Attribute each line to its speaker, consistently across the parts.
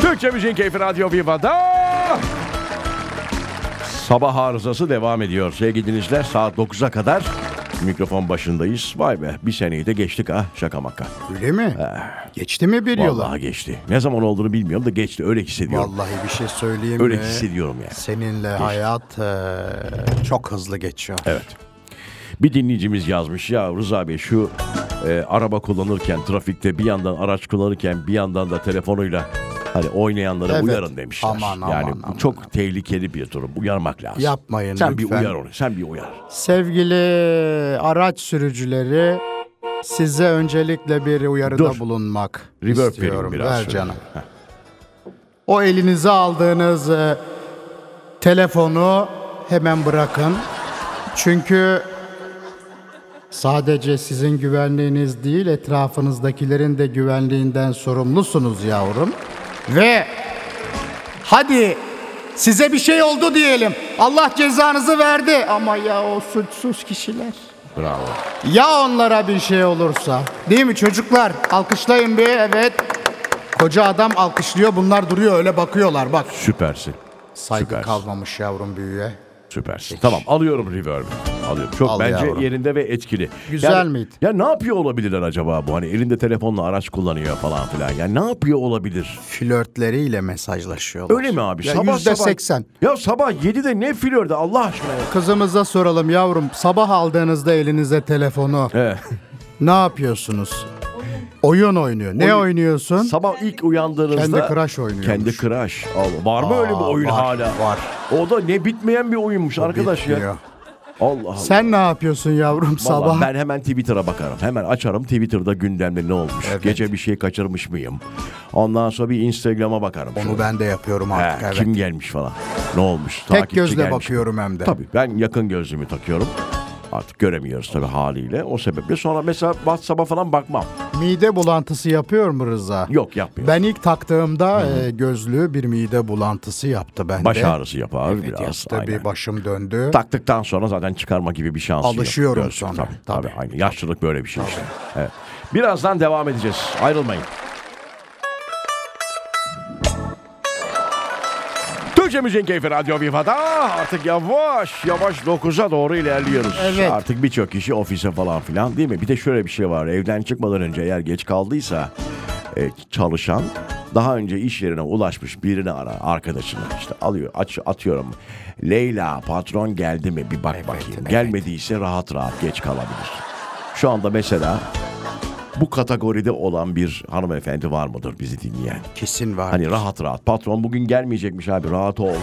Speaker 1: Türkçe Müziğin Keyfi Radyo Viva'da Sabah arızası devam ediyor. Sevgili dinleyiciler saat 9'a kadar mikrofon başındayız. Vay be bir seneyi de geçtik ha şaka maka.
Speaker 2: Öyle mi? Geçti mi bir yola?
Speaker 1: Vallahi geçti. Ne zaman olduğunu bilmiyorum da geçti öyle hissediyorum.
Speaker 2: Vallahi bir şey söyleyeyim
Speaker 1: Öyle
Speaker 2: mi?
Speaker 1: hissediyorum yani.
Speaker 2: Seninle hayat eee, çok hızlı geçiyor.
Speaker 1: şey. Evet. Bir dinleyicimiz yazmış ya Rıza Bey şu e, araba kullanırken trafikte bir yandan araç kullanırken bir yandan da telefonuyla hani oynayanlara
Speaker 2: Evet.
Speaker 1: uyarın demişler.
Speaker 2: Aman, aman,
Speaker 1: yani bu
Speaker 2: aman,
Speaker 1: çok tehlikeli bir durum. Uyarmak lazım.
Speaker 2: Yapmayın
Speaker 1: Sen
Speaker 2: lütfen.
Speaker 1: bir uyar onu. Sen bir uyar.
Speaker 2: Sevgili araç sürücüleri size öncelikle bir uyarıda
Speaker 1: Dur.
Speaker 2: bulunmak
Speaker 1: Reverb vereyim
Speaker 2: istiyorum.
Speaker 1: biraz
Speaker 2: Ver
Speaker 1: şöyle.
Speaker 2: canım. O elinize aldığınız e, telefonu hemen bırakın. Çünkü sadece sizin güvenliğiniz değil etrafınızdakilerin de güvenliğinden sorumlusunuz yavrum. Ve hadi size bir şey oldu diyelim. Allah cezanızı verdi ama ya o suçsuz kişiler.
Speaker 1: Bravo.
Speaker 2: Ya onlara bir şey olursa? Değil mi çocuklar? Alkışlayın bir evet. Koca adam alkışlıyor bunlar duruyor öyle bakıyorlar bak.
Speaker 1: Süpersin.
Speaker 2: Saygı
Speaker 1: Süpersin.
Speaker 2: kalmamış yavrum büyüğe.
Speaker 1: Süpersin. Tamam alıyorum reverb'i. Alıyorum. Çok
Speaker 2: Al
Speaker 1: bence
Speaker 2: yavrum.
Speaker 1: yerinde ve etkili.
Speaker 2: Güzel
Speaker 1: Yani-
Speaker 2: miydi?
Speaker 1: Ya ne yapıyor olabilirler acaba bu? Hani elinde telefonla araç kullanıyor falan filan. Ya ne yapıyor olabilir?
Speaker 2: Flörtleriyle mesajlaşıyorlar.
Speaker 1: Öyle mi abi?
Speaker 2: Ya
Speaker 1: sabah
Speaker 2: yüzde
Speaker 1: sabah.
Speaker 2: seksen.
Speaker 1: Ya sabah 7'de ne flörde Allah aşkına ya.
Speaker 2: Kızımıza soralım yavrum sabah aldığınızda elinize telefonu
Speaker 1: Evet.
Speaker 2: ne yapıyorsunuz? Oyun oynuyor. Ne oynuyorsun?
Speaker 1: Sabah ilk uyandığınızda.
Speaker 2: Kendi crush oynuyormuş.
Speaker 1: Kendi crush. Allah, var mı öyle bir
Speaker 2: Aa,
Speaker 1: oyun
Speaker 2: var,
Speaker 1: hala?
Speaker 2: var.
Speaker 1: O da ne bitmeyen bir oyunmuş arkadaş ya.
Speaker 2: Bitmiyor.
Speaker 1: Allah Allah.
Speaker 2: Sen ne yapıyorsun yavrum
Speaker 1: Vallahi
Speaker 2: sabah?
Speaker 1: ben hemen Twitter'a bakarım. Hemen açarım Twitter'da gündemde ne olmuş.
Speaker 2: Evet.
Speaker 1: Gece bir şey kaçırmış mıyım? Ondan sonra bir Instagram'a bakarım.
Speaker 2: Onu
Speaker 1: Şöyle.
Speaker 2: ben de yapıyorum
Speaker 1: He,
Speaker 2: artık evet.
Speaker 1: Kim gelmiş falan. Ne olmuş?
Speaker 2: Tek
Speaker 1: Takipçi
Speaker 2: gözle
Speaker 1: gelmiş.
Speaker 2: bakıyorum hem de.
Speaker 1: Tabii ben yakın gözlüğümü takıyorum. Artık göremiyoruz tabii haliyle. O sebeple sonra mesela WhatsApp'a falan bakmam.
Speaker 2: Mide bulantısı yapıyor mu Rıza?
Speaker 1: Yok yapmıyorum.
Speaker 2: Ben ilk taktığımda e, gözlüğü bir mide bulantısı yaptı bende.
Speaker 1: Baş ağrısı yapar biraz.
Speaker 2: yaptı
Speaker 1: aynen.
Speaker 2: bir başım döndü.
Speaker 1: Taktıktan sonra zaten çıkarma gibi bir şansı
Speaker 2: Alışıyorum
Speaker 1: yok. Göz-
Speaker 2: sonra.
Speaker 1: Tabii, tabii,
Speaker 2: Tabii.
Speaker 1: aynı. Yaşlılık böyle bir şey işte. Evet. Birazdan devam edeceğiz. Ayrılmayın. Türkçe Müziğin Keyfi Radyo Viva'da artık yavaş yavaş 9'a doğru ilerliyoruz.
Speaker 2: Evet.
Speaker 1: Artık birçok kişi ofise falan filan değil mi? Bir de şöyle bir şey var. Evden çıkmadan önce eğer geç kaldıysa e, çalışan daha önce iş yerine ulaşmış birini ara arkadaşını işte alıyor aç atıyorum. Leyla patron geldi mi bir bak bakayım. Gelmediyse rahat rahat geç kalabilir. Şu anda mesela bu kategoride olan bir hanımefendi var mıdır bizi dinleyen?
Speaker 2: Kesin var.
Speaker 1: Hani rahat rahat patron bugün gelmeyecekmiş abi rahat ol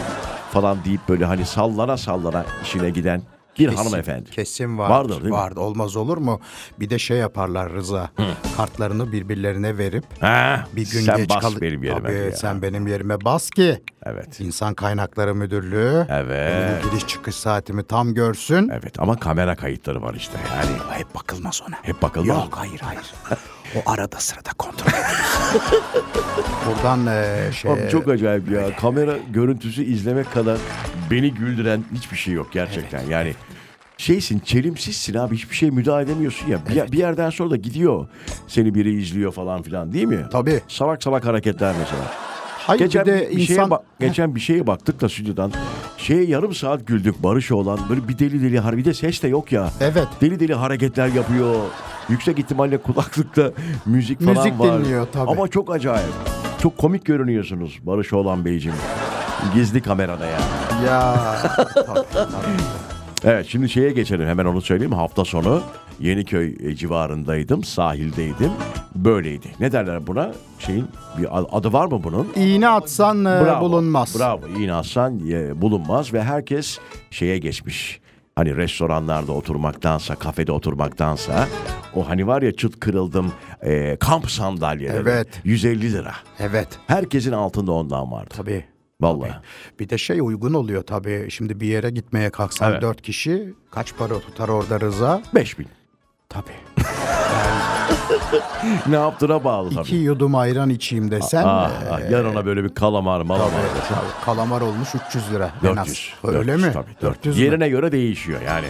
Speaker 1: falan deyip böyle hani sallana sallana işine giden bir
Speaker 2: Kesin-
Speaker 1: hanımefendi.
Speaker 2: Kesin var.
Speaker 1: Vardır değil mi?
Speaker 2: Vardı. Olmaz olur mu? Bir de şey yaparlar Rıza. Kartlarını birbirlerine verip
Speaker 1: Ha,
Speaker 2: bir gün
Speaker 1: sen
Speaker 2: geç
Speaker 1: bas
Speaker 2: kalı-
Speaker 1: benim yerime.
Speaker 2: Tabii,
Speaker 1: diyor.
Speaker 2: sen benim yerime bas ki.
Speaker 1: Evet.
Speaker 2: İnsan Kaynakları Müdürlüğü
Speaker 1: Evet.
Speaker 2: benim giriş çıkış saatimi tam görsün.
Speaker 1: Evet ama kamera kayıtları var işte. Yani
Speaker 2: Hep bakılmaz ona.
Speaker 1: hep bakılmaz.
Speaker 2: Yok hayır hayır. o arada sırada kontrol ediyoruz. Buradan e, şey
Speaker 1: Abi çok acayip ya. Kamera görüntüsü izlemek kadar beni güldüren hiçbir şey yok gerçekten. Yani şeysin çelimsizsin abi hiçbir şey müdahale edemiyorsun ya. Bir, bir yerden sonra da gidiyor. Seni biri izliyor falan filan değil mi?
Speaker 2: Tabii.
Speaker 1: Salak salak hareketler mesela.
Speaker 2: Hayır
Speaker 1: Geçen
Speaker 2: bir de
Speaker 1: bir şeye
Speaker 2: insan
Speaker 1: bak- geçen bir şeye baktık da stüdyodan. Şeye yarım saat güldük Barış olan böyle bir deli deli harbi de ses de yok ya.
Speaker 2: Evet.
Speaker 1: Deli deli hareketler yapıyor. Yüksek ihtimalle kulaklıkta müzik falan
Speaker 2: Müzik
Speaker 1: var.
Speaker 2: dinliyor tabii.
Speaker 1: Ama çok acayip. Çok komik görünüyorsunuz Barış olan Beyciğim. Gizli kamerada ya.
Speaker 2: ya
Speaker 1: Evet şimdi şeye geçelim hemen onu söyleyeyim. Hafta sonu Yeniköy e, civarındaydım, sahildeydim. Böyleydi. Ne derler buna? Şeyin bir ad- adı var mı bunun?
Speaker 2: iğne atsan e,
Speaker 1: Bravo,
Speaker 2: bulunmaz.
Speaker 1: Bravo. İğne atsan e, bulunmaz ve herkes şeye geçmiş. Hani restoranlarda oturmaktansa, kafede oturmaktansa o hani var ya çıt kırıldım e, kamp sandalyeleri
Speaker 2: Evet.
Speaker 1: 150 lira.
Speaker 2: Evet
Speaker 1: Herkesin altında ondan vardı.
Speaker 2: tabii.
Speaker 1: Vallahi.
Speaker 2: Bir de şey uygun oluyor tabii. Şimdi bir yere gitmeye kalksan
Speaker 1: Evet.
Speaker 2: dört kişi kaç para tutar orada Rıza?
Speaker 1: 5000.
Speaker 2: Tabii.
Speaker 1: ne yaptığına bağlı tabii.
Speaker 2: İki yudum ayran içeyim desen
Speaker 1: Ah,
Speaker 2: e,
Speaker 1: ah, yanına böyle bir kalamar malamar.
Speaker 2: kalamar olmuş 300 lira. en az.
Speaker 1: 400.
Speaker 2: Öyle
Speaker 1: 400,
Speaker 2: mi?
Speaker 1: Tabii 400.
Speaker 2: 400 mü?
Speaker 1: Yerine göre değişiyor yani.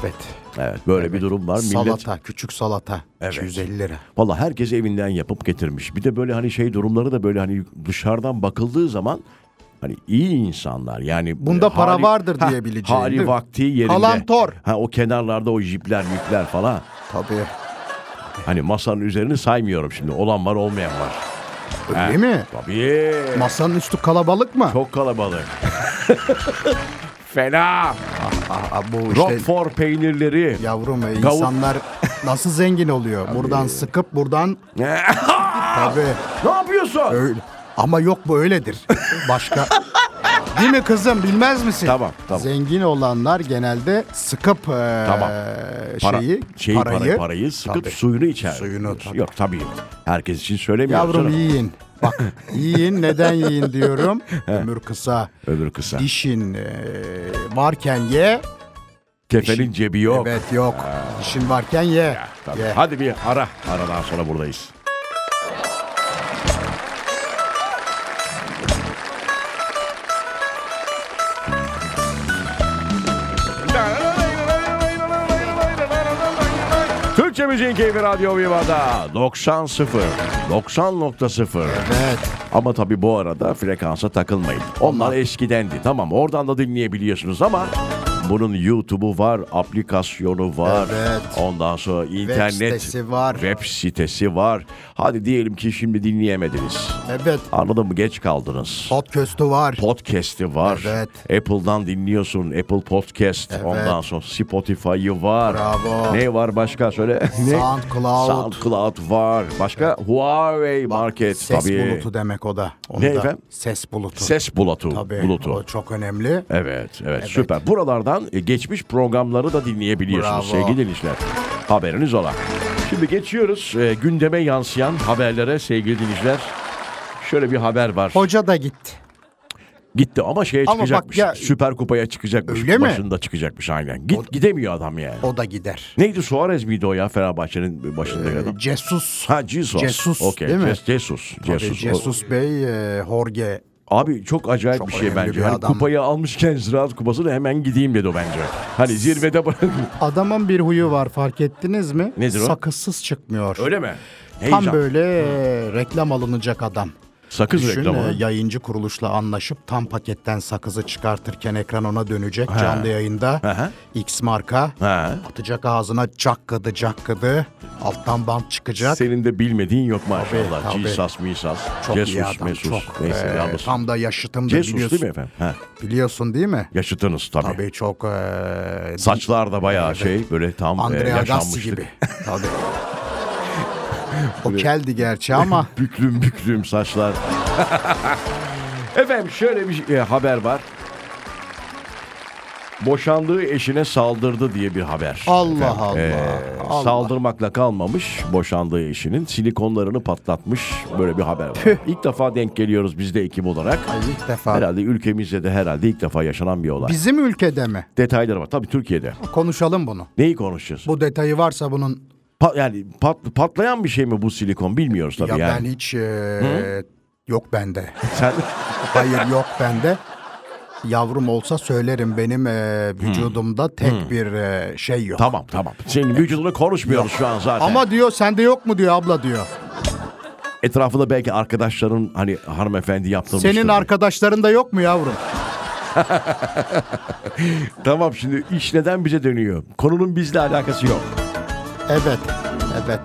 Speaker 2: Evet.
Speaker 1: Evet böyle bir durum var. Millet
Speaker 2: Salata, küçük salata.
Speaker 1: Evet.
Speaker 2: 250 lira.
Speaker 1: Valla herkes evinden yapıp getirmiş. Bir de böyle hani şey durumları da böyle hani dışarıdan bakıldığı zaman hani iyi insanlar yani.
Speaker 2: Bunda
Speaker 1: e,
Speaker 2: para vardır diyebileceğin, değil
Speaker 1: Hali
Speaker 2: mi?
Speaker 1: vakti yerinde.
Speaker 2: Kalantor.
Speaker 1: Ha, o kenarlarda o jipler yükler falan.
Speaker 2: Tabii.
Speaker 1: Hani masanın üzerini saymıyorum şimdi. Olan var olmayan var.
Speaker 2: Öyle
Speaker 1: Ha,
Speaker 2: mi?
Speaker 1: Tabii.
Speaker 2: Masanın üstü kalabalık mı?
Speaker 1: Çok kalabalık. Fena.
Speaker 2: Aa, bu işte
Speaker 1: Roquefort peynirleri.
Speaker 2: yavrum e,
Speaker 1: Gavur-
Speaker 2: insanlar nasıl zengin oluyor? Buradan sıkıp buradan tabii.
Speaker 1: ne yapıyorsun?
Speaker 2: Öyle. Ama yok bu öyledir. Başka. Değil mi kızım bilmez misin?
Speaker 1: Tamam, tamam.
Speaker 2: Zengin olanlar genelde sıkıp e,
Speaker 1: Tamam. Para-
Speaker 2: şeyi,
Speaker 1: şeyi,
Speaker 2: parayı,
Speaker 1: parayı, parayı sıkıp
Speaker 2: Tabii.
Speaker 1: suyunu içer.
Speaker 2: Suyunu, tabii.
Speaker 1: Yok tabii. Herkes için söylemiyorum.
Speaker 2: Yavrum
Speaker 1: canım.
Speaker 2: yiyin. Bak yiyin neden yiyin diyorum. Ömür kısa.
Speaker 1: Öbür kısa.
Speaker 2: Dişin e, varken ye.
Speaker 1: Kefenin cebi yok.
Speaker 2: Evet yok. Dişin varken ye.
Speaker 1: Tabii.
Speaker 2: ye.
Speaker 1: Hadi bir ara. Aradan sonra buradayız. Türkçe Müziğin Keyfi Radyo Viva'da 90.0 90.0
Speaker 2: Evet.
Speaker 1: Ama tabii bu arada frekansa takılmayın. Onlar eskidendi. Tamam oradan da dinleyebiliyorsunuz ama bunun YouTube'u var, aplikasyonu var.
Speaker 2: Evet.
Speaker 1: Ondan sonra internet
Speaker 2: sitesi var.
Speaker 1: Web sitesi var. Hadi diyelim ki şimdi dinleyemediniz.
Speaker 2: Evet.
Speaker 1: Anladın mı? Geç kaldınız.
Speaker 2: Pot köstü var.
Speaker 1: Podcast'i var.
Speaker 2: Evet.
Speaker 1: Apple'dan dinliyorsun. Apple Podcast.
Speaker 2: Evet.
Speaker 1: Ondan sonra Spotify'ı var.
Speaker 2: Bravo.
Speaker 1: Ne var başka söyle. Ne?
Speaker 2: SoundCloud.
Speaker 1: SoundCloud var. Başka Huawei Market
Speaker 2: Ses
Speaker 1: tabii.
Speaker 2: bulutu demek o da. Onu
Speaker 1: Ne
Speaker 2: da-
Speaker 1: efendim?
Speaker 2: Ses bulutu.
Speaker 1: Ses bulutu.
Speaker 2: Tabii.
Speaker 1: bulutu.
Speaker 2: O çok önemli.
Speaker 1: Evet, evet, süper. Buralardan e, geçmiş programları da dinleyebiliyorsunuz
Speaker 2: Bravo.
Speaker 1: sevgili dinleyiciler. Haberiniz ola. Şimdi geçiyoruz e, gündeme yansıyan haberlere sevgili dinleyiciler. Şöyle bir haber var.
Speaker 2: Hoca da gitti.
Speaker 1: Gitti ama şeye
Speaker 2: Ama bak
Speaker 1: çıkacakmış.
Speaker 2: ya-
Speaker 1: Süper Kupa'ya çıkacakmış.
Speaker 2: Öyle mi?
Speaker 1: Başında çıkacakmış aynen. Git, gidemiyor adam yani.
Speaker 2: O da gider.
Speaker 1: Neydi Suarez miydi o ya Fenerbahçe'nin başındaki adam?
Speaker 2: Cesus.
Speaker 1: Ha Jesus.
Speaker 2: Ee, Jesus,
Speaker 1: Okey,
Speaker 2: değil mi?
Speaker 1: Ces- Jesus. Jesus. O-
Speaker 2: Cesus Bey, e, Jorge.
Speaker 1: Abi çok acayip
Speaker 2: Çok
Speaker 1: bir şey
Speaker 2: önemli
Speaker 1: bence.
Speaker 2: bir
Speaker 1: Hani
Speaker 2: adam.
Speaker 1: kupayı almışken Ziraat Kupası'na hemen gideyim dedi o bence. Hani zirvede bırakın.
Speaker 2: Adamın bir huyu var fark ettiniz mi?
Speaker 1: Nedir o?
Speaker 2: Sakızsız çıkmıyor.
Speaker 1: Öyle mi? Heyecan.
Speaker 2: Tam böyle e, reklam alınacak adam.
Speaker 1: Sakız
Speaker 2: Düşün
Speaker 1: reklamı.
Speaker 2: e, yayıncı kuruluşla anlaşıp tam paketten sakızı çıkartırken ekran ona dönecek canlı yayında.
Speaker 1: Aha.
Speaker 2: X marka
Speaker 1: Ha.
Speaker 2: atacak ağzına cakkıdı cakkıdı. Alttan bant çıkacak.
Speaker 1: Senin de bilmediğin yok maşallah.
Speaker 2: tabii.
Speaker 1: Cisas, misas.
Speaker 2: çok iyi
Speaker 1: Cesus,
Speaker 2: adam.
Speaker 1: mesus.
Speaker 2: Çok,
Speaker 1: Neyse
Speaker 2: e,
Speaker 1: yalnız.
Speaker 2: tam da yaşıtım da
Speaker 1: Cesus
Speaker 2: biliyorsun.
Speaker 1: değil mi efendim? Ha.
Speaker 2: Biliyorsun değil mi?
Speaker 1: Yaşıtınız tabii.
Speaker 2: Tabii çok e,
Speaker 1: Saçlar da bayağı şey böyle tam e,
Speaker 2: Andrea Gassi
Speaker 1: yaşanmıştı.
Speaker 2: gibi. Tabii. o keldi gerçi ama
Speaker 1: Büklüm büklüm saçlar. Efendim şöyle bir e, haber var. Boşandığı eşine saldırdı diye bir haber.
Speaker 2: Allah
Speaker 1: Efendim, e,
Speaker 2: Allah, Allah.
Speaker 1: Saldırmakla kalmamış boşandığı eşinin silikonlarını patlatmış böyle bir haber var. İlk defa denk geliyoruz biz de ekip olarak.
Speaker 2: Ay, ilk defa.
Speaker 1: Herhalde ülkemizde de herhalde ilk defa yaşanan bir olay.
Speaker 2: Bizim ülkede mi?
Speaker 1: Detayları var tabii Türkiye'de.
Speaker 2: Konuşalım bunu.
Speaker 1: Neyi konuşacağız?
Speaker 2: Bu detayı varsa bunun
Speaker 1: Pa- yani pat- patlayan bir şey mi bu silikon bilmiyoruz tabii
Speaker 2: ya
Speaker 1: yani.
Speaker 2: ben hiç e, yok bende.
Speaker 1: Sen...
Speaker 2: Hayır yok bende. Yavrum olsa söylerim benim e, vücudumda tek bir e, şey yok.
Speaker 1: Tamam tamam. Senin vücudunu konuşmuyoruz şu an zaten. Ama
Speaker 2: Ama diyor sende yok mu diyor abla diyor.
Speaker 1: etrafında belki arkadaşların hani hanımefendi yaptırmıştır.
Speaker 2: Senin arkadaşların da yok mu yavrum?
Speaker 1: Tamam şimdi iş neden bize dönüyor? Konunun bizle alakası yok.
Speaker 2: Evet. Evet.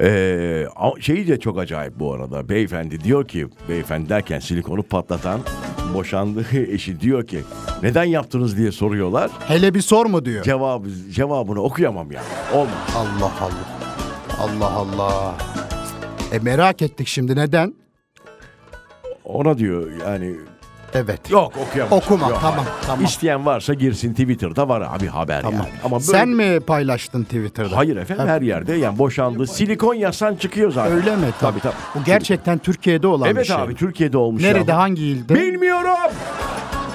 Speaker 1: Ee, ama şeyi de çok acayip bu arada. Beyefendi diyor ki, beyefendi derken silikonu patlatan boşandığı eşi diyor ki neden yaptınız diye soruyorlar.
Speaker 2: Hele bir sor mu diyor.
Speaker 1: Cevabı, cevabını okuyamam yani. Olmaz.
Speaker 2: Allah Allah. Allah Allah. E merak ettik şimdi neden?
Speaker 1: Ona diyor yani
Speaker 2: Evet.
Speaker 1: yok okuyamam.
Speaker 2: Okuma,
Speaker 1: Yok,
Speaker 2: tamam,
Speaker 1: hayır.
Speaker 2: tamam.
Speaker 1: İsteyen varsa girsin Twitter'da var abi haber
Speaker 2: Tamam.
Speaker 1: yani. Ama böyle
Speaker 2: Sen mi paylaştın Twitter'da?
Speaker 1: Hayır efendim her yerde yani boşandı. Silikon yasan çıkıyor zaten.
Speaker 2: Öyle mi?
Speaker 1: Tabii tabii.
Speaker 2: Bu gerçekten Türkiye'de olan bir
Speaker 1: Evet
Speaker 2: şey.
Speaker 1: abi Türkiye'de olmuş.
Speaker 2: Nerede
Speaker 1: ya.
Speaker 2: hangi ilde?
Speaker 1: Bilmiyorum.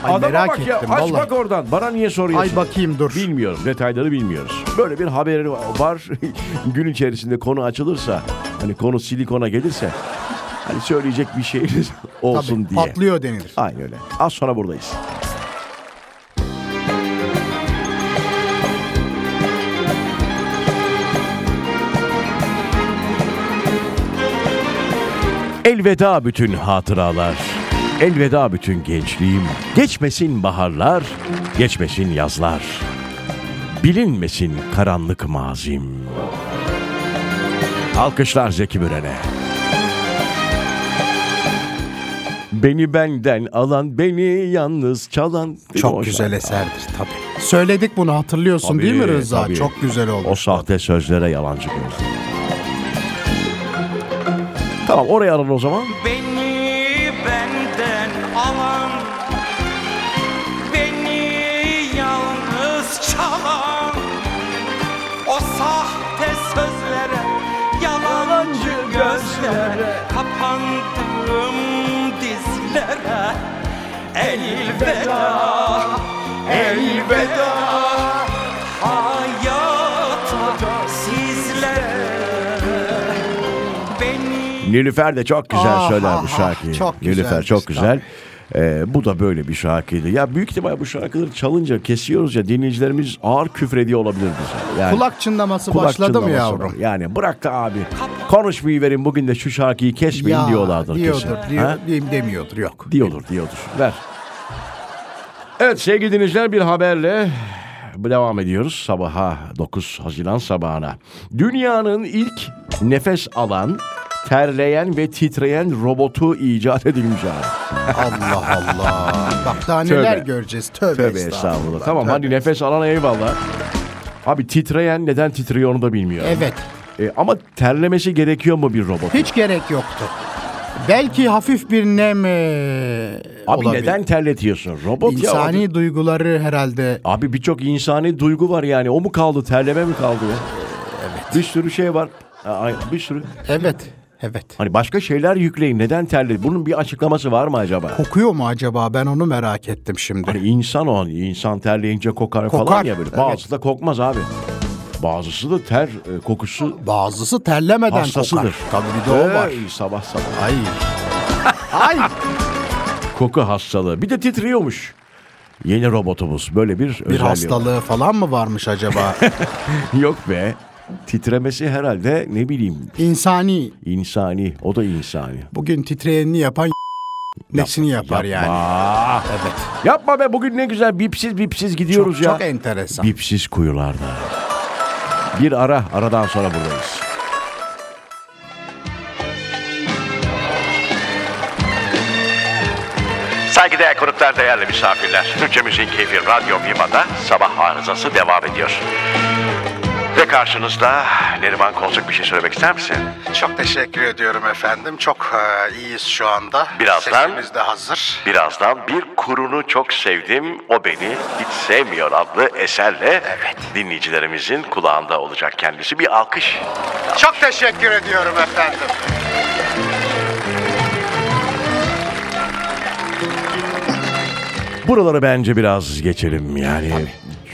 Speaker 2: Ay
Speaker 1: Adama
Speaker 2: merak
Speaker 1: bak
Speaker 2: ettim
Speaker 1: ya aç
Speaker 2: vallahi.
Speaker 1: bak oradan. Bana niye soruyorsun?
Speaker 2: Ay bakayım dur.
Speaker 1: Bilmiyorum detayları bilmiyoruz. Böyle bir haberi var. Gün içerisinde konu açılırsa hani konu silikona gelirse hani söyleyecek bir şeyiniz
Speaker 2: Tabii,
Speaker 1: olsun diye.
Speaker 2: Patlıyor denilir.
Speaker 1: Aynen öyle. Az sonra buradayız. Elveda bütün hatıralar. Elveda bütün gençliğim. Geçmesin baharlar, geçmesin yazlar. Bilinmesin karanlık mazim. Alkışlar Zeki Müren'e. Beni benden alan, beni yalnız çalan. Değil mi o
Speaker 2: Çok güzel
Speaker 1: şarkı?
Speaker 2: eserdir tabii. Söyledik bunu hatırlıyorsun değil mi
Speaker 1: Tabii,
Speaker 2: Rıza?
Speaker 1: tabii.
Speaker 2: Çok güzel oldu.
Speaker 1: O sahte sözlere yalancı gözlü. Tamam oraya alın o zaman.
Speaker 3: Beni benden alan Beni yalnız çalan O sahte sözlere Yalancı gözlere Kapandığım dizlere Elveda Elveda Hayata sizlere Beni
Speaker 1: Nilüfer de çok güzel
Speaker 2: Ah,
Speaker 1: söyler
Speaker 2: ah,
Speaker 1: bu
Speaker 2: ah,
Speaker 1: şarkıyı.
Speaker 2: çok
Speaker 1: Nilüfer
Speaker 2: güzelmiş,
Speaker 1: çok güzel. Ee, bu da böyle bir şarkıydı. Ya büyük ihtimal bu şarkıları çalınca kesiyoruz ya dinleyicilerimiz ağır küfrediyor olabilir bize. Yani
Speaker 2: Kulak çınlaması
Speaker 1: kulak
Speaker 2: başladı mı
Speaker 1: çınlaması var.
Speaker 2: yavrum?
Speaker 1: Yani bırak da abi konuşmayı verin bugün de şu şarkıyı kesmeyin diyorlardır kesin.
Speaker 2: diyordur, diyor-
Speaker 1: Ha?
Speaker 2: diyeyim demiyordur yok.
Speaker 1: Diyordur diyordur. Ver. Evet sevgili dinleyiciler bir haberle devam ediyoruz sabaha 9 Haziran sabahına. Dünyanın ilk nefes alan, terleyen ve titreyen robotu icat edilmiş abi.
Speaker 2: Allah Allah. Bak daha neler
Speaker 1: Tövbe.
Speaker 2: göreceğiz. Tövbe,
Speaker 1: Tövbe estağfurullah. Tamam hadi nefes alan eyvallah. Abi titreyen neden titriyor onu da bilmiyorum.
Speaker 2: Evet.
Speaker 1: E, ama terlemesi gerekiyor mu bir robot?
Speaker 2: Hiç gerek yoktu. Belki hafif bir nem e,
Speaker 1: Abi
Speaker 2: olabilir.
Speaker 1: neden terletiyorsun? Robot ya.
Speaker 2: İnsani duyguları herhalde
Speaker 1: Abi birçok insani duygu var yani. O mu kaldı? Terleme mi kaldı ya? Evet. Bir sürü şey var. Ay, Bir sürü.
Speaker 2: evet evet.
Speaker 1: Hani başka şeyler yükleyin. Neden terledi? Bunun bir açıklaması var mı acaba?
Speaker 2: Kokuyor mu acaba? Ben onu merak ettim şimdi.
Speaker 1: Hani insan o. hani insan terleyince kokar, falan
Speaker 2: Kokar,
Speaker 1: ya böyle.
Speaker 2: evet.
Speaker 1: Bazısı da kokmaz abi. Bazısı da ter e, kokusu
Speaker 2: Bazısı terlemeden
Speaker 1: hastasıdır.
Speaker 2: kokar. Tabii bir de o var.
Speaker 1: Ey, sabah sabah.
Speaker 2: Ay. Ay.
Speaker 1: Koku hastalığı. Bir de titriyormuş. Yeni robotumuz böyle bir
Speaker 2: Bir
Speaker 1: özelliği var.
Speaker 2: hastalığı falan mı varmış acaba?
Speaker 1: Yok be. Titremesi herhalde ne bileyim
Speaker 2: İnsani.
Speaker 1: insani. O da insani.
Speaker 2: Bugün titreyenini yapan nesini yapar yani.
Speaker 1: Aa,
Speaker 2: Evet.
Speaker 1: yapma be bugün ne güzel bipsiz bipsiz
Speaker 2: Çok,
Speaker 1: gidiyoruz ya.
Speaker 2: çok e- enteresan.
Speaker 1: Bipsiz kuyularda. Bir ara, aradan sonra buradayız. Saygıdeğer konuklar, değerli misafirler. Türkçe Müziğin Keyfi Radyo Viva'da sabah arızası devam ediyor. Ve karşınızda Neriman Konçuk bir şey söylemek ister misin?
Speaker 4: Çok teşekkür ediyorum efendim. Çok e, iyiyiz şu anda.
Speaker 1: Birazdan-
Speaker 4: Sesimiz de hazır.
Speaker 1: Birazdan bir kurunu çok sevdim, o beni hiç sevmiyor adlı eserle dinleyicilerimizin kulağında olacak kendisi. Bir alkış.
Speaker 4: Çok teşekkür ediyorum efendim.
Speaker 1: Buraları bence biraz geçelim yani.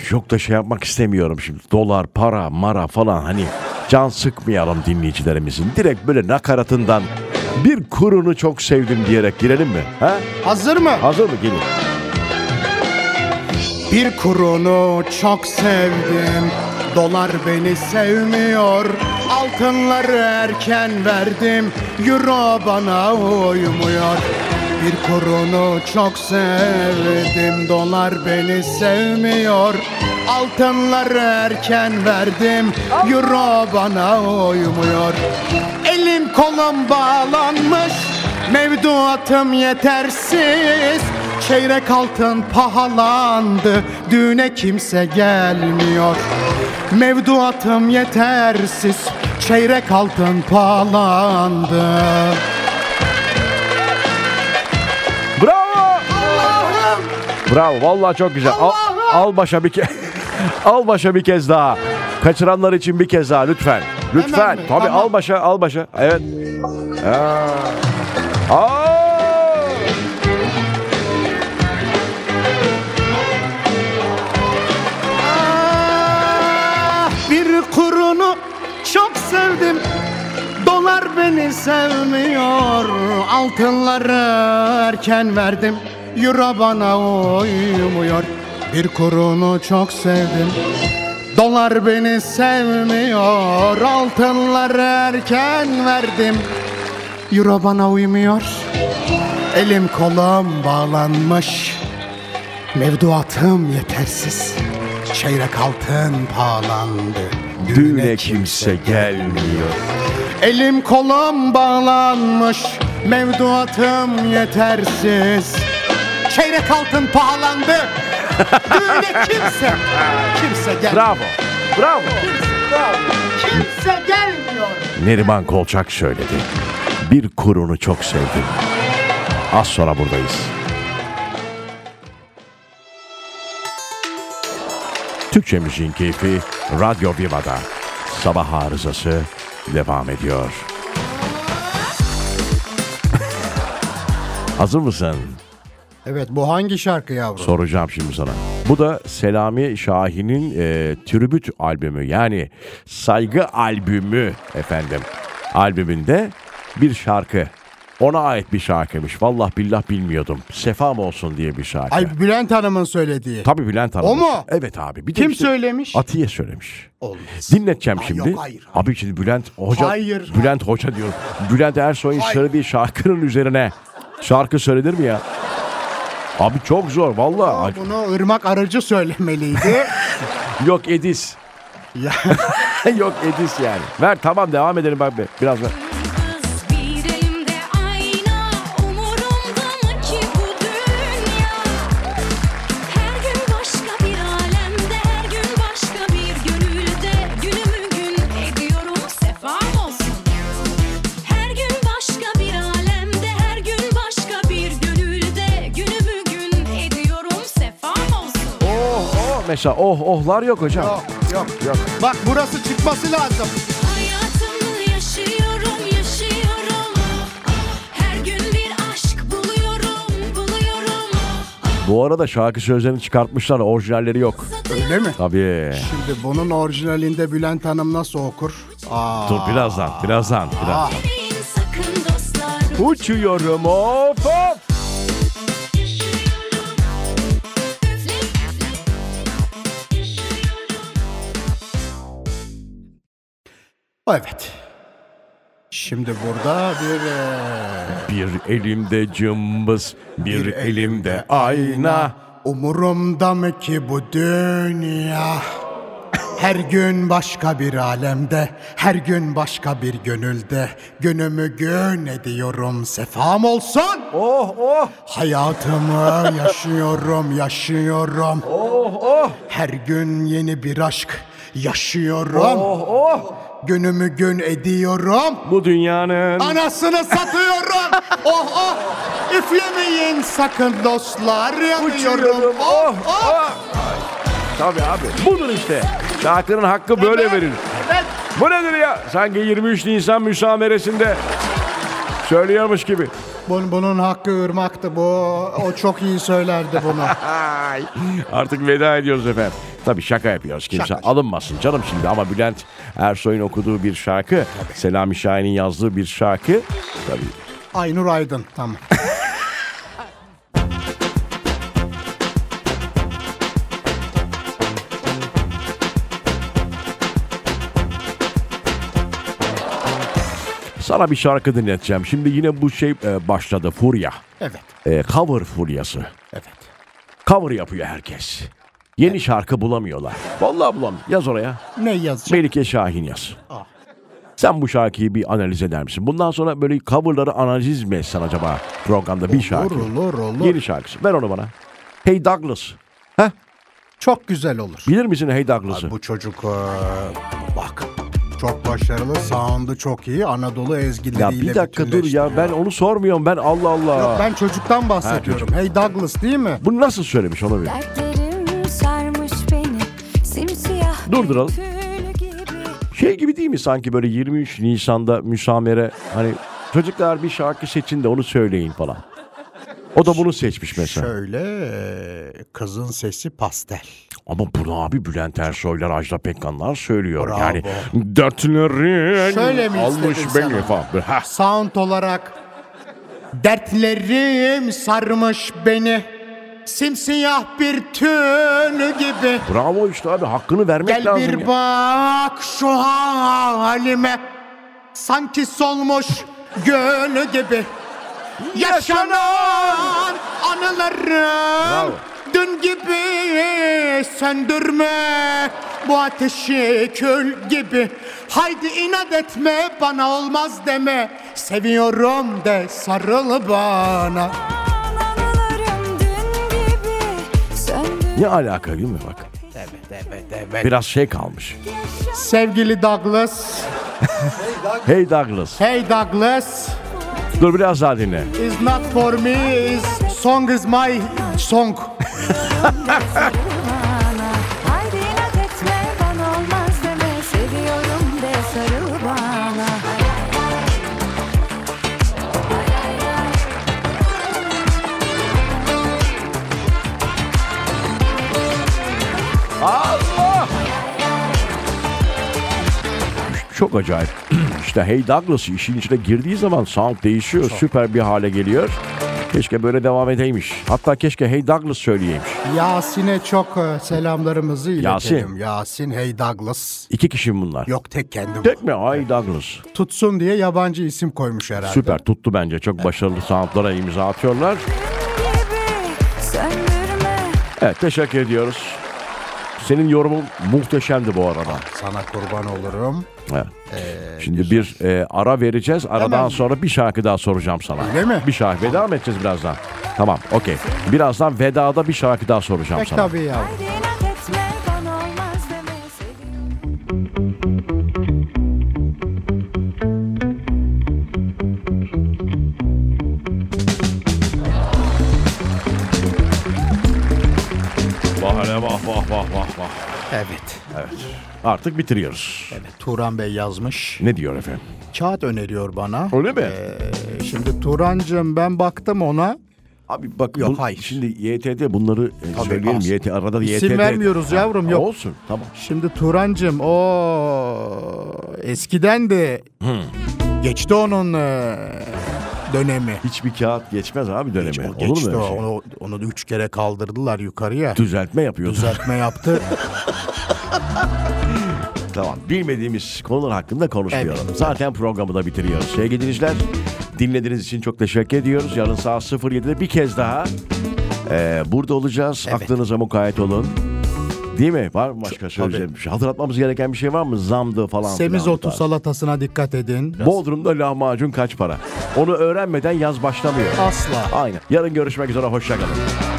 Speaker 1: Çok da şey yapmak istemiyorum şimdi. Dolar, para, mara falan hani can sıkmayalım dinleyicilerimizin. Direkt böyle nakaratından bir kurunu çok sevdim diyerek girelim mi? Ha?
Speaker 2: Hazır mı?
Speaker 1: Hazır mı? Gelin.
Speaker 2: Bir kurunu çok sevdim Dolar beni sevmiyor Altınları erken verdim Euro bana uymuyor Bir kurunu çok sevdim Dolar beni sevmiyor Altınları erken verdim Euro bana uymuyor Elim kolum bağlanmış Mevduatım yetersiz Çeyrek altın pahalandı Düğüne kimse gelmiyor Mevduatım yetersiz Çeyrek altın pahalandı
Speaker 1: Bravo! Bravo. Vallahi çok güzel. Al, al başa bir kez. al başa bir kez daha. Kaçıranlar için bir kez daha lütfen. Lütfen.
Speaker 2: Hemen mi?
Speaker 1: Tabii
Speaker 2: Tamam.
Speaker 1: al başa, al başa. Evet. Aa. Aa.
Speaker 2: Ah, Efendim dolar beni sevmiyor Altınları erken verdim Euro bana uymuyor Bir kurunu çok sevdim Dolar beni sevmiyor Altınları erken verdim Euro bana uymuyor Elim kolum bağlanmış Mevduatım yetersiz Çeyrek altın pahalandı
Speaker 1: Düğüne kimse gelmiyor.
Speaker 2: Elim kolum bağlanmış Mevduatım yetersiz Çeyrek altın pahalandı Düğüne kimse Kimse gelmiyor
Speaker 1: Bravo. Bravo.
Speaker 2: Kimse gelmiyor
Speaker 1: Neriman Kolçak söyledi. Bir kurunu çok sevdim. Az sonra buradayız. Türkçe Müziğin Keyfi Radyo Viva'da. Sabah arızası devam ediyor. Hazır mısın?
Speaker 2: Evet bu hangi şarkı yavrum?
Speaker 1: Soracağım şimdi sana. Bu da Selami Şahin'in e, tribüt albümü yani saygı albümü efendim. Albümünde bir şarkı. Ona ait bir şarkıymış. Vallahi billah bilmiyordum. Sefam olsun diye bir şarkı.
Speaker 2: Ay Bülent Hanım'ın söylediği
Speaker 1: Tabii Bülent Hanım.
Speaker 2: O mu?
Speaker 1: Evet abi. Bir de
Speaker 2: Kim
Speaker 1: işte
Speaker 2: söylemiş?
Speaker 1: Atiye söylemiş.
Speaker 2: Olmaz
Speaker 1: Dinleteceğim
Speaker 2: Ay
Speaker 1: şimdi.
Speaker 2: yok, hayır.
Speaker 1: Abi şimdi Bülent Hoca.
Speaker 2: Hayır.
Speaker 1: Bülent Hoca diyorum. Bülent Ersoy'un
Speaker 2: Hayır.
Speaker 1: şöyle bir şarkının üzerine şarkı söylenir mi ya? Abi çok zor vallahi.
Speaker 2: Bunu Irmak Arıcı söylemeliydi
Speaker 1: Yok Edis.
Speaker 2: Ya.
Speaker 1: Yok Edis yani. Ver tamam devam edelim bak bir- biraz ver.
Speaker 5: Yalnız bir elimde ayna umurumda mı ki bu dünya? Her gün başka bir alemde, her gün başka bir gönülde günümü gün ediyorum sefam olsun. Her gün başka bir alemde, her gün başka bir gönülde günümü gün ediyorum sefam olsun.
Speaker 1: Mesela oh ohlar yok hocam.
Speaker 2: Yok yok Bak burası çıkması lazım
Speaker 5: Hayatımı yaşıyorum, yaşıyorum. Her gün bir aşk buluyorum, buluyorum.
Speaker 1: Bu arada şarkı sözlerini çıkartmışlar orijinalleri yok.
Speaker 2: Öyle mi?
Speaker 1: Tabii.
Speaker 2: Şimdi bunun orijinalinde Bülent Hanım nasıl okur? Aa,
Speaker 1: Dur birazdan birazdan biraz.
Speaker 5: Deneyin sakın dostlar.
Speaker 1: Uçuyorum of of.
Speaker 5: Yaşıyorum. Üfle, üfle. Yaşıyorum.
Speaker 2: Evet. Şimdi burada bir e, eee,
Speaker 1: Bir elimde cımbız bir elimde ayna.
Speaker 2: umurumda mı ki bu dünya? Her gün başka bir alemde, her gün başka bir gönülde. Günümü gün ediyorum, sefam olsun.
Speaker 1: Oh oh
Speaker 2: Hayatımı yaşıyorum, yaşıyorum.
Speaker 1: oh oh
Speaker 2: Her gün yeni bir aşk yaşıyorum.
Speaker 1: oh oh.
Speaker 2: Günümü gün ediyorum.
Speaker 1: Bu dünyanın
Speaker 2: Anasını satıyorum. oh oh. Üflemeyin sakın dostlar. Yanıyorum. Oh oh.
Speaker 1: Ah, Tabii abi. Budur işte. Şarkının hakkı böyle verir. Bu nedir ya? Sanki 23 Nisan müsameresinde söylüyormuş gibi.
Speaker 2: Bunun, bunun hakkı ırmaktı bu. O çok iyi söylerdi bunu.
Speaker 1: Ay. Artık veda ediyoruz efendim. Tabii şaka yapıyoruz. Kimse alınmasın canım şimdi ama Bülent Ersoy'un okuduğu bir şarkı, Selami Şahin'in yazdığı bir şarkı. Tabii
Speaker 2: Aynur Aydın. Tamam.
Speaker 1: sana bir şarkı dinleteceğim. Şimdi yine bu şey e, başladı Furya.
Speaker 2: Evet.
Speaker 1: E, cover furyası.
Speaker 2: Evet.
Speaker 1: Cover yapıyor herkes. Yeni şarkı bulamıyorlar. Vallahi bulam. Yaz oraya.
Speaker 2: Ne yazacak?
Speaker 1: Melike Şahin yaz.
Speaker 2: Ah.
Speaker 1: Sen bu şarkıyı bir analiz eder misin? Bundan sonra böyle coverları analiz mi etsen acaba programda bir şarkı?
Speaker 2: olur, olur.
Speaker 1: Yeni şarkısı. Ver onu bana. Hey Douglas.
Speaker 2: Çok güzel olur.
Speaker 1: Bilir misin Hey Douglas'ı?
Speaker 2: Bu çocuk eee, bak çok başarılı. Sound'u çok iyi. Anadolu
Speaker 1: Ya
Speaker 2: ezgileriyle
Speaker 1: bir dakika dur
Speaker 2: bütünleşti.
Speaker 1: ya ben onu sormuyorum ben Allah Allah.
Speaker 2: Yok, ben çocuktan bahsediyorum.
Speaker 1: çocuk.
Speaker 2: Hey Douglas değil mi?
Speaker 1: Bunu nasıl söylemiş onu bir.
Speaker 5: Dertlerim sarmış beni simsiyah
Speaker 1: Durduralım.
Speaker 5: bir tül gibi.
Speaker 1: Şey gibi değil mi sanki böyle 23 Nisan'da müsamere hani çocuklar bir şarkı seçin de onu söyleyin falan. O da bunu seçmiş mesela.
Speaker 2: Şöyle kızın sesi pastel.
Speaker 1: Ama bunu abi Bülent Ersoylar, Ajda Pekkanlar söylüyor. Yani dertlerin
Speaker 2: Şöyle mi
Speaker 1: almış
Speaker 2: istedin sen
Speaker 1: beni
Speaker 2: onu?
Speaker 1: falan. Ha,
Speaker 2: Sound olarak dertlerim sarmış beni. Simsiyah bir tül gibi.
Speaker 1: bravo işte abi hakkını vermek
Speaker 2: Gel
Speaker 1: lazım. ya.
Speaker 2: bir bak şu halime Sanki solmuş gönü gibi Yaşanan
Speaker 1: Bravo.
Speaker 2: anılarım Dün gibi söndürme bu ateşi kül gibi Haydi inat etme bana olmaz deme Seviyorum de sarıl bana
Speaker 5: Anılarım dün gibi söndü
Speaker 1: Ne alaka değil mi bak? Biraz şey kalmış.
Speaker 2: Sevgili Douglas
Speaker 1: Hey Douglas.
Speaker 2: Hey Douglas
Speaker 1: Dur biraz daha dinle.
Speaker 2: is not for me is song is my song.
Speaker 5: bana Haydi inat etme bana olmaz deme Seviyorum de sarıl bana
Speaker 1: Çok acayip. işte Hey Douglas işin içine girdiği zaman sound değişiyor. Süper bir hale geliyor. Keşke böyle devam edeymiş. Hatta keşke Hey Douglas söyleyeymiş.
Speaker 2: Yasin'e çok e, selamlarımızı iletelim.
Speaker 1: Yasin.
Speaker 2: Yasin. hey Douglas.
Speaker 1: İki kişi mi bunlar?
Speaker 2: Yok tek kendim.
Speaker 1: Tek mi? Hey Douglas.
Speaker 2: Tutsun diye yabancı isim koymuş herhalde.
Speaker 1: Süper tuttu bence. Çok başarılı soundlara imza atıyorlar.
Speaker 5: Gibi söndürme
Speaker 1: Evet teşekkür ediyoruz. Senin yorumun muhteşemdi bu arada.
Speaker 2: Sana kurban olurum.
Speaker 1: Evet. Şimdi bir e, ara vereceğiz. Aradan
Speaker 2: Ee, Hemen.
Speaker 1: sonra bir şarkı daha soracağım sana.
Speaker 2: Öyle mi?
Speaker 1: Bir şarkı. Veda mı edeceğiz birazdan? Tamam okey. Birazdan vedada bir şarkı daha soracağım
Speaker 2: Pek
Speaker 1: sana.
Speaker 2: tabii ya.
Speaker 5: Haydi inat etme bana olmaz deme Seviyorum
Speaker 1: Vah hele vah vah vah vah vah.
Speaker 2: Evet.
Speaker 1: Artık bitiriyoruz.
Speaker 2: evet. Turan Bey yazmış.
Speaker 1: Ne diyor efendim?
Speaker 2: Kağıt öneriyor bana.
Speaker 1: Öyle mi?
Speaker 2: E, Şimdi Turancığım ben baktım ona.
Speaker 1: Abi bak
Speaker 2: Yok,
Speaker 1: bu-
Speaker 2: hayır.
Speaker 1: şimdi YTD bunları e,
Speaker 2: Tabii,
Speaker 1: söyleyelim.
Speaker 2: aslında.
Speaker 1: YT, arada da
Speaker 2: İsim
Speaker 1: YTD.
Speaker 2: vermiyoruz yavrum,
Speaker 1: Ha,
Speaker 2: yok.
Speaker 1: Olsun tamam.
Speaker 2: Şimdi Turancığım o eskiden de geçti onun e, dönemi.
Speaker 1: Hiçbir kağıt geçmez abi dönemi.
Speaker 2: O
Speaker 1: Olur mu
Speaker 2: geçti
Speaker 1: öyle
Speaker 2: o.
Speaker 1: şey?
Speaker 2: Onu, onu da üç kere kaldırdılar yukarıya.
Speaker 1: Düzeltme yapıyoruz.
Speaker 2: Düzeltme yaptı.
Speaker 1: Tamam. Bilmediğimiz konular hakkında konuşmayalım.
Speaker 2: Evet.
Speaker 1: Zaten programı da bitiriyoruz. Sevgili dinleyiciler dinlediğiniz için çok teşekkür ediyoruz. Yarın saat 07'de bir kez daha e, burada olacağız.
Speaker 2: Evet.
Speaker 1: Aklınıza mukayyet olun. Değil mi? Var mı başka söyleyeceğim bir şey? Hatırlatmamız gereken bir şey var mı? Zamdı falan. filan bu
Speaker 2: Semizotu
Speaker 1: tarz.
Speaker 2: salatasına dikkat edin.
Speaker 1: Bodrum'da lahmacun kaç para? Onu öğrenmeden yaz başlamıyor.
Speaker 2: Asla.
Speaker 1: Aynen. Yarın görüşmek üzere. Hoşçakalın.